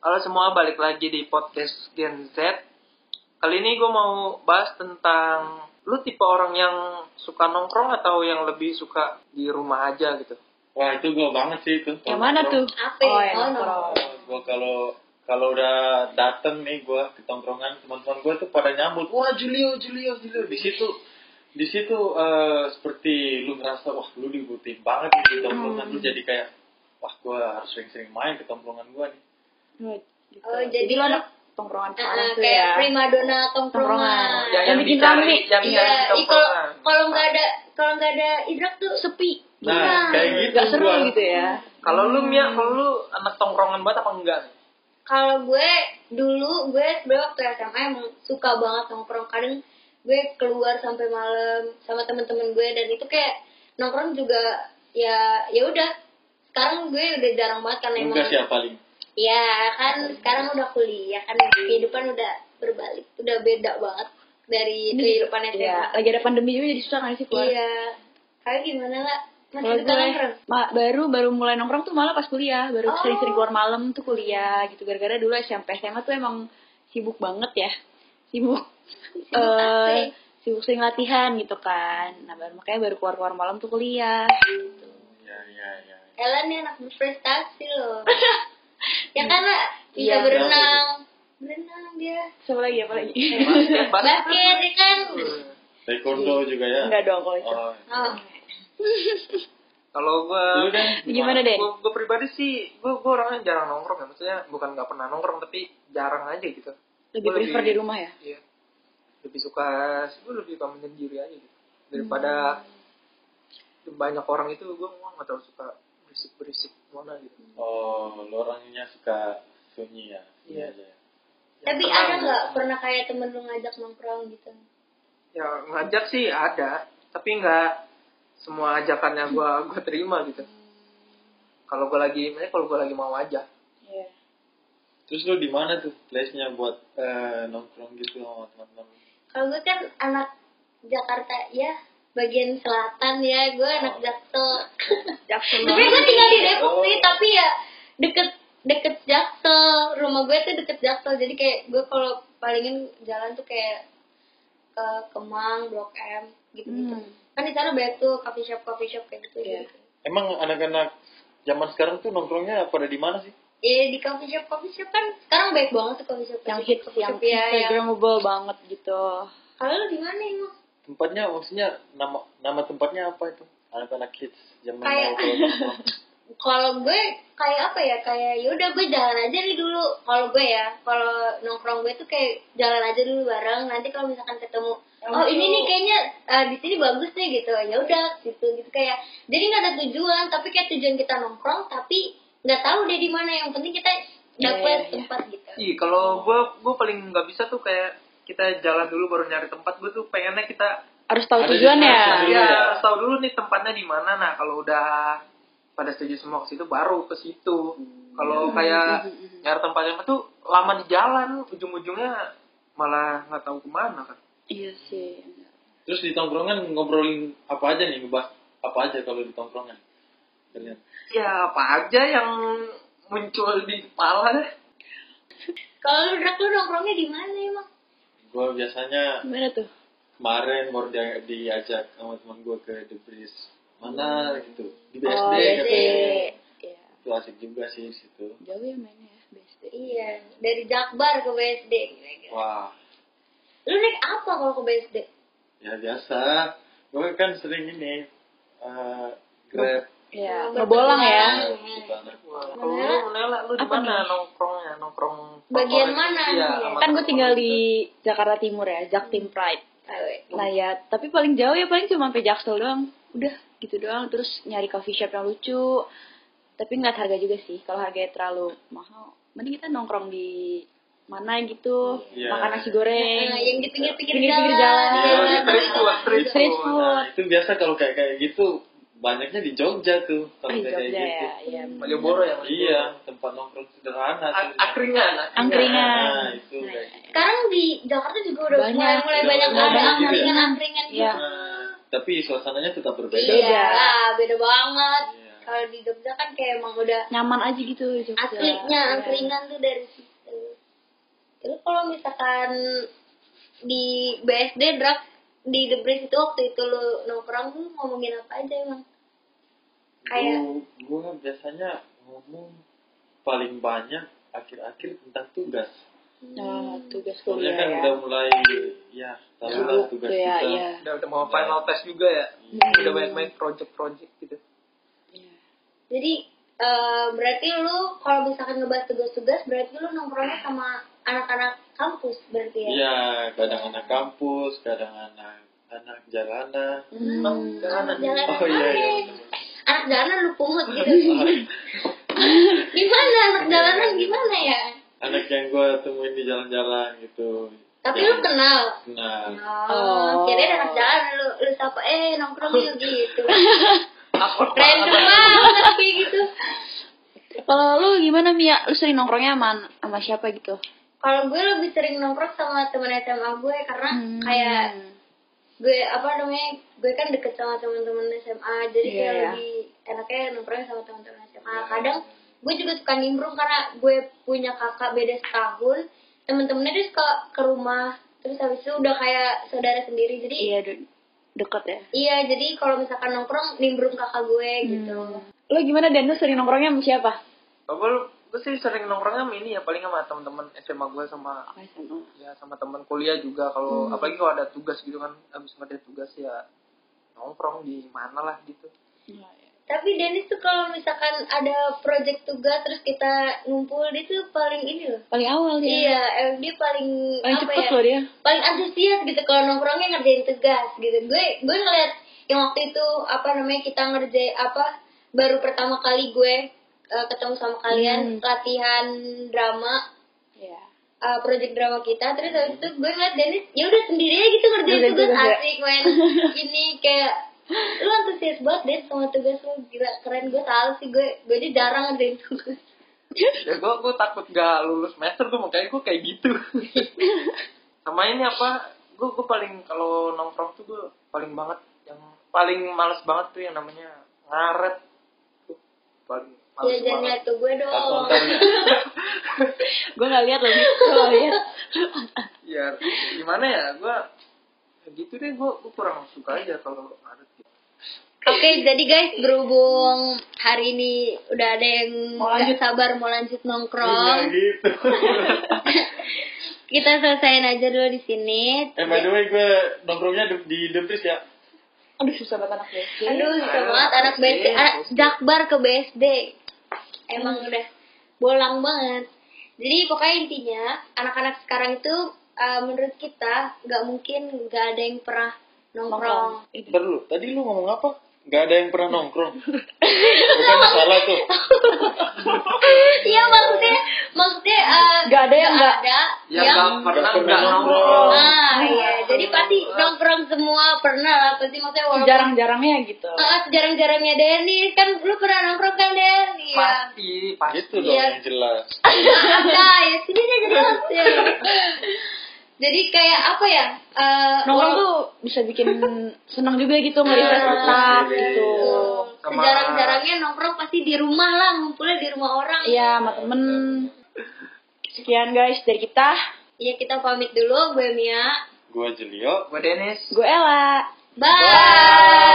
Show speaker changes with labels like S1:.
S1: Halo semua, balik lagi di podcast Gen Z. Kali ini gue mau bahas tentang lu tipe orang yang suka nongkrong atau yang lebih suka di rumah aja gitu.
S2: Wah itu gue banget sih itu.
S3: Yang mana tuh?
S4: Apa? Oh,
S3: yang iya, nongkrong.
S2: Gue kalau kalau udah dateng nih gue ke tongkrongan teman-teman gue tuh pada nyambut. Wah Julio Julio Julio di situ di situ eh, seperti lu ngerasa wah lu dibutuhin banget nih di
S3: Hmm.
S2: tongkrongan lu jadi kayak wah gue harus sering-sering main ke tongkrongan gue nih.
S3: Gitu.
S4: Oh, jadi
S3: jadi lo anak
S4: lo-
S3: tongkrongan parah
S4: Ah,
S3: tuh
S4: kayak
S3: ya.
S4: primadona tongkrongan.
S3: Yang bikin rame.
S1: yang dicari
S4: Iya,
S1: di
S4: ih, kalau
S1: tongkrongan.
S4: kalau nggak ada kalau nggak ada idrak tuh sepi.
S2: Nah, kayak gitu
S3: Gak Iya. seru
S2: gua.
S3: gitu ya.
S1: Kalau lu Mia, kalau lu anak tongkrongan banget apa enggak?
S4: Kalau gue dulu gue sebenarnya waktu SMA emang suka banget nongkrong. Kadang gue keluar sampai malam sama teman-teman gue dan itu kayak nongkrong juga ya ya udah. Sekarang gue udah jarang banget karena emang
S2: Enggak sih ya, paling.
S4: Iya kan sekarang udah kuliah kan
S3: Hmm.
S4: kehidupan udah berbalik udah beda banget dari kehidupan SMA.
S3: Iya, lagi ada pandemi juga jadi susah kan sih keluar.
S4: Iya. Kalian gimana lah?
S3: Kalau
S4: Masih suka
S3: gue
S4: nongkrong?
S3: ma- baru baru mulai nongkrong tuh malah pas kuliah, baru
S4: Oh.
S3: sering-sering keluar malam tuh kuliah gitu gara-gara dulu SMP SMA tuh emang sibuk banget ya. Sibuk eh
S4: apa ya?
S3: sibuk sering latihan gitu kan. Nah, baru makanya baru keluar-keluar malam tuh kuliah.
S2: Ya ya ya.
S4: Ella nih anak berprestasi loh. ya kan lah,
S3: Iya.
S4: bisa berenang. Berenang dia.
S3: Siapa lagi apa lagi?
S1: Basket,
S4: Basket ya kan.
S3: Hmm.
S2: Taekwondo juga ya.
S3: Enggak Iya. dong kalau itu.
S2: Oh.
S4: Oh.
S1: Kalau gue
S2: Lu kan
S3: Gimana deh?
S1: Gue, pribadi sih, gue, gue orangnya jarang nongkrong ya. Maksudnya bukan nggak pernah nongkrong, tapi jarang aja gitu.
S3: Lebih
S1: Gua
S3: prefer di rumah ya?
S1: Iya. Lebih suka, gue lebih suka menyendiri aja gitu. Daripada
S4: Hmm.
S1: banyak orang itu, gue nggak terlalu suka berisik-berisik mana gitu.
S2: Oh, lu orangnya suka sunyi ya. Sunyi
S1: Iya.
S2: aja ya.
S4: Tapi
S1: Yang
S4: ada
S1: tenang,
S4: nggak
S1: gitu.
S4: pernah kayak temen lu ngajak nongkrong gitu?
S1: Ya ngajak sih ada, tapi nggak semua ajakannya gue gue terima gitu. Kalau gue lagi, makanya kalau gue lagi mau aja.
S3: Iya.
S2: Terus lu di mana tuh place-nya buat eh, nongkrong gitu sama teman-teman?
S4: Kalau gue kan anak Jakarta ya, bagian selatan ya. Gue anak Jaksel.
S3: Jaksel
S4: Tapi gue tinggal di Depok
S2: Oh.
S4: sih, tapi ya deket deket Jaksel. Rumah gue tuh deket Jaksel, jadi kayak gue kalau palingin jalan tuh kayak ke Kemang, Blok M gitu-gitu.
S3: Hmm.
S4: Kan di sana banyak tuh coffee shop coffee shop kayak gitu.
S3: Iya.
S4: gitu.
S2: Emang anak-anak zaman sekarang tuh nongkrongnya pada di mana sih?
S4: Ya di coffee shop coffee shop kan sekarang banyak banget tuh coffee shop.
S3: Yang
S4: coffee
S3: hits
S4: shop, coffee
S3: yang
S4: shop, ya, yang
S3: Instagramable banget gitu.
S4: Kalau lu di mana emang?
S2: Tempatnya maksudnya nama nama tempatnya apa itu? Anak-anak kids zaman
S4: Kayak-
S2: mau kalau nongkrong.
S4: kalau gue kayak apa ya kayak yaudah gue jalan aja nih dulu kalau gue ya kalau nongkrong gue tuh kayak jalan aja dulu bareng nanti kalau misalkan ketemu oh ini nih kayaknya eh, di sini bagus nih gitu ya udah gitu gitu kayak jadi nggak ada tujuan tapi kayak tujuan kita nongkrong tapi nggak tahu dia di mana yang penting kita
S3: Iya,
S4: dapet
S3: iya.
S4: tempat gitu
S1: Iya, kalau gue gue paling nggak bisa tuh kayak kita jalan dulu baru nyari tempat. Gue tuh pengennya kita
S3: Harus tahu
S2: Ada di
S3: tujuannya.
S2: Jakarta. Dulu
S1: ya,
S2: ya?
S1: harus tahu dulu nih tempatnya di mana. Nah, kalau udah pada setuju semua ke situ baru ke situ.
S3: Hmm.
S1: Kalau kayak nyari tempat yang itu lama di jalan, ujung-ujungnya malah nggak tahu kemana kan.
S3: Iya sih.
S2: Terus di tongkrongan ngobrolin apa aja nih? Ngebahas apa aja kalau di tongkrongan? Kalian.
S1: Ya apa aja yang muncul di kepala deh.
S4: kalau lu drak lu nongkrongnya di mana emang
S2: Gue biasanya
S3: Gimana tuh?
S2: kemarin baru dia- diajak sama teman gue ke The Breeze. Mana gitu? Di BSD
S3: Oh,
S2: katanya.
S3: BSD. Iya,
S2: Itu asik juga sih di situ.
S3: jauh ya mainnya ya, BSD.
S4: iya dari Jakbar ke BSD gila-gila.
S2: Wah,
S4: gitu. lu naik apa kalau ke BSD
S2: ya biasa. Gue kan sering ini eh, grab. eh,
S3: Iya,
S4: Nggak
S3: ngebolang ya.
S4: berkenan.
S1: Wah, Kalau lu Nela, lu di
S3: Apa
S1: mana nongkrongnya? Nongkrong
S4: Bagian
S1: favorit?
S4: mana
S1: Iya,
S4: nih?
S1: sama
S3: Kan gue
S1: teman-teman
S3: tinggal
S1: gitu.
S3: di Jakarta Timur ya, Jaktim Pride.
S4: Awe.
S3: Nah ya, tapi paling jauh ya paling cuma sampai Jaksel doang. Udah gitu doang, terus nyari coffee shop yang lucu. Tapi nggak harga juga sih, kalau harganya terlalu mahal. Mending kita nongkrong di mana gitu,
S2: Iya.
S3: makan nasi goreng.
S4: Nah, yang di pinggir-pinggir
S3: Pinggir-pinggir
S4: jalan.
S3: jalan.
S1: Iya, street food, street
S3: Street
S1: food.
S3: food.
S2: Nah, itu biasa kalau kayak kayak gitu banyaknya di Jogja tuh kalau
S3: Di
S2: kayak kayak
S3: Jogja
S2: gitu.
S3: ya, iya.
S1: Malioboro ya?
S2: Iya, tempat nongkrong sederhana.
S1: A-
S2: tuh.
S1: Akringan.
S3: Angkringan.
S2: Nah, itu kayak
S3: ya.
S2: gitu.
S4: Sekarang di Jakarta juga udah
S3: Banyak.
S4: mulai mulai banyak
S2: Udah banyak
S4: ada
S2: gitu ya.
S4: angkringan-angkringan gitu.
S3: Iya.
S2: Nah, tapi suasananya tetap berbeda.
S4: Iya, beda banget.
S2: Iya.
S4: Kalau di Jogja kan kayak emang udah
S3: nyaman aja gitu di Jogja.
S4: aslinya
S3: Iya.
S4: angkringan tuh dari situ itu kalau misalkan di BSD drag di The Bridge itu waktu itu lu nongkrong tuh ngomongin apa aja emang kayak
S2: Gua- gua biasanya ngomong paling banyak akhir-akhir tentang tugas.
S3: Nah, tugas
S2: Soalnya
S3: kuliah
S2: kan
S3: ya.
S2: udah mulai ya tahu lah
S3: Sibuk
S2: tugas
S3: ya,
S2: kita.
S3: iya.
S1: udah udah mau final test juga ya
S3: Hmm.
S1: udah banyak banyak project project gitu
S4: jadi eh, berarti lu kalau misalkan ngebahas tugas-tugas berarti lu nongkrongnya sama anak-anak kampus berarti ya
S2: Iya, kadang anak kampus, kadang anak anak jalanan.
S3: Hmm.
S1: oh, jalanan
S4: anak jalanan
S2: Oh iya iya.
S4: eh,
S2: bener-bener.
S4: anak jalanan lu pungut gitu gimana anak jalanan gimana ya
S2: Anak yang gua temuin di jalan-jalan gitu.
S4: tapi
S2: Yang
S4: lu kenal
S2: kenal.
S3: Oh.
S4: Oh, kirain anak jalan lu lu sapa eh nongkrong yuk gitu.
S3: Nah,
S1: Takut
S4: Random
S1: banget.
S4: banget kayak gitu.
S3: Kalau lu gimana Mia? Lu sering nongkrongnya sama sama siapa gitu?
S4: Kalau gue lebih sering nongkrong sama temen SMA gue karena
S3: Hmm.
S4: kayak gue apa namanya gue kan deket sama teman-teman SMA jadi
S3: Iya,
S4: kayak
S3: iya.
S4: lebih enaknya nongkrong sama teman-teman SMA. Kadang gue juga suka nimbrung karena gue punya kakak beda setahun. Temen-temennya dia suka ke rumah terus habis itu udah kayak saudara sendiri jadi
S3: Iya de- deket ya.
S4: iya jadi kalau misalkan nongkrong nimbrung kakak gue
S3: Hmm.
S4: gitu.
S3: Lu gimana Dan? Lu sering nongkrongnya sama siapa?
S1: Apa lu gue sih sering nongkrongnya sama ini ya paling sama teman-teman SMA gue sama
S3: Sama SMA.
S1: ya sama teman kuliah juga kalau apalagi kalau ada tugas gitu kan habis ngerjain tugas ya nongkrong di mana lah gitu
S4: Tapi Dennis tuh kalau misalkan ada project tugas terus kita ngumpul dia tuh paling ini loh.
S3: Paling awal dia.
S4: Iya, eh, dia paling
S3: Paling
S4: apa
S3: cepet
S4: ya?
S3: loh dia.
S4: Paling antusias gitu kalau nongkrongnya ngerjain tugas gitu. Gue gue ngeliat yang waktu itu apa namanya kita ngerjain apa baru pertama kali gue eh, ketemu sama kalian
S3: Hmm.
S4: latihan drama
S3: Iya.
S4: eh, project drama kita terus habis itu gue ngeliat Dennis ya udah sendiri aja gitu ngerjain
S3: Ngerjain
S4: tugas
S3: tugas ya.
S4: asik main ini kayak lu antusias banget deh sama tugas lu gila keren gue salah sih gue gue aja jarang ngerjain tugas
S1: ya gue gue takut gak lulus semester tuh makanya gue kayak gitu sama ini apa gue gue paling kalau nongkrong tuh gue paling banget yang paling males banget tuh yang namanya ngaret Tuh, paling
S4: ya
S1: males
S4: jangan
S1: banget
S4: liat ke gue
S2: Aku
S4: dong
S2: ntar ya.
S3: Gue gak lihat lagi. Gue lihat.
S1: ya gimana ya gue gitu deh gue gue kurang suka aja kalau ngaret gitu
S4: Oke, jadi guys, berhubung hari ini udah ada yang
S3: Mau
S4: nggak
S3: lanjut.
S4: sabar mau lanjut
S2: Iya
S4: nongkrong,
S2: gitu.
S4: kita selesaiin aja dulu di sini.
S2: Eh by the way gue nongkrongnya di, di Depris ya.
S3: Aduh susah banget anak BSD.
S4: Aduh, susah
S1: Aduh,
S4: banget anak
S1: pusing,
S4: BSD, anak
S1: pusing.
S4: Jakbar ke BSD. Emang udah bolang banget. Jadi pokoknya intinya anak-anak sekarang itu eh, menurut kita nggak mungkin nggak ada yang pernah nongkrong.
S2: Ntar dulu, tadi lu ngomong apa? Gak ada yang pernah nongkrong. Bukan salah tuh.
S4: Iya maksudnya maksudnya eh,
S3: Nggak ada yang nggak-
S4: ada
S1: ya
S4: yang
S1: nggak pernah
S2: Nggak pernah
S1: nggak
S2: nongkrong.
S1: nongkrong
S4: Ah iya, jadi pasti nongkrong semua pernah lah pasti maksudnya walaupun
S3: Jarang-jarangnya gitu.
S4: Ah, jarang-jarangnya Dennis kan lu pernah nongkrong kan Den? Iya.
S1: pasti pasti
S2: Itu Gitu dong
S4: Iya.
S2: yang jelas.
S4: Ada ya sini aja jelas ya. Jadi kayak apa ya? Eh,
S3: Nongkrong
S4: walaupun-
S3: tuh bisa bikin seneng juga gitu nge-refresh
S4: Ah,
S3: otak gitu.
S4: iya.
S1: Sama-
S4: Sejarang-jarangnya nongkrong pasti di rumah lah, ngumpulnya di rumah orang.
S3: Iya, sama temen. Sekian guys dari kita.
S4: Iya, kita pamit dulu, gue Mia.
S2: Gue Jelio.
S1: gue Dennis
S3: Gue Ella.
S4: Bye.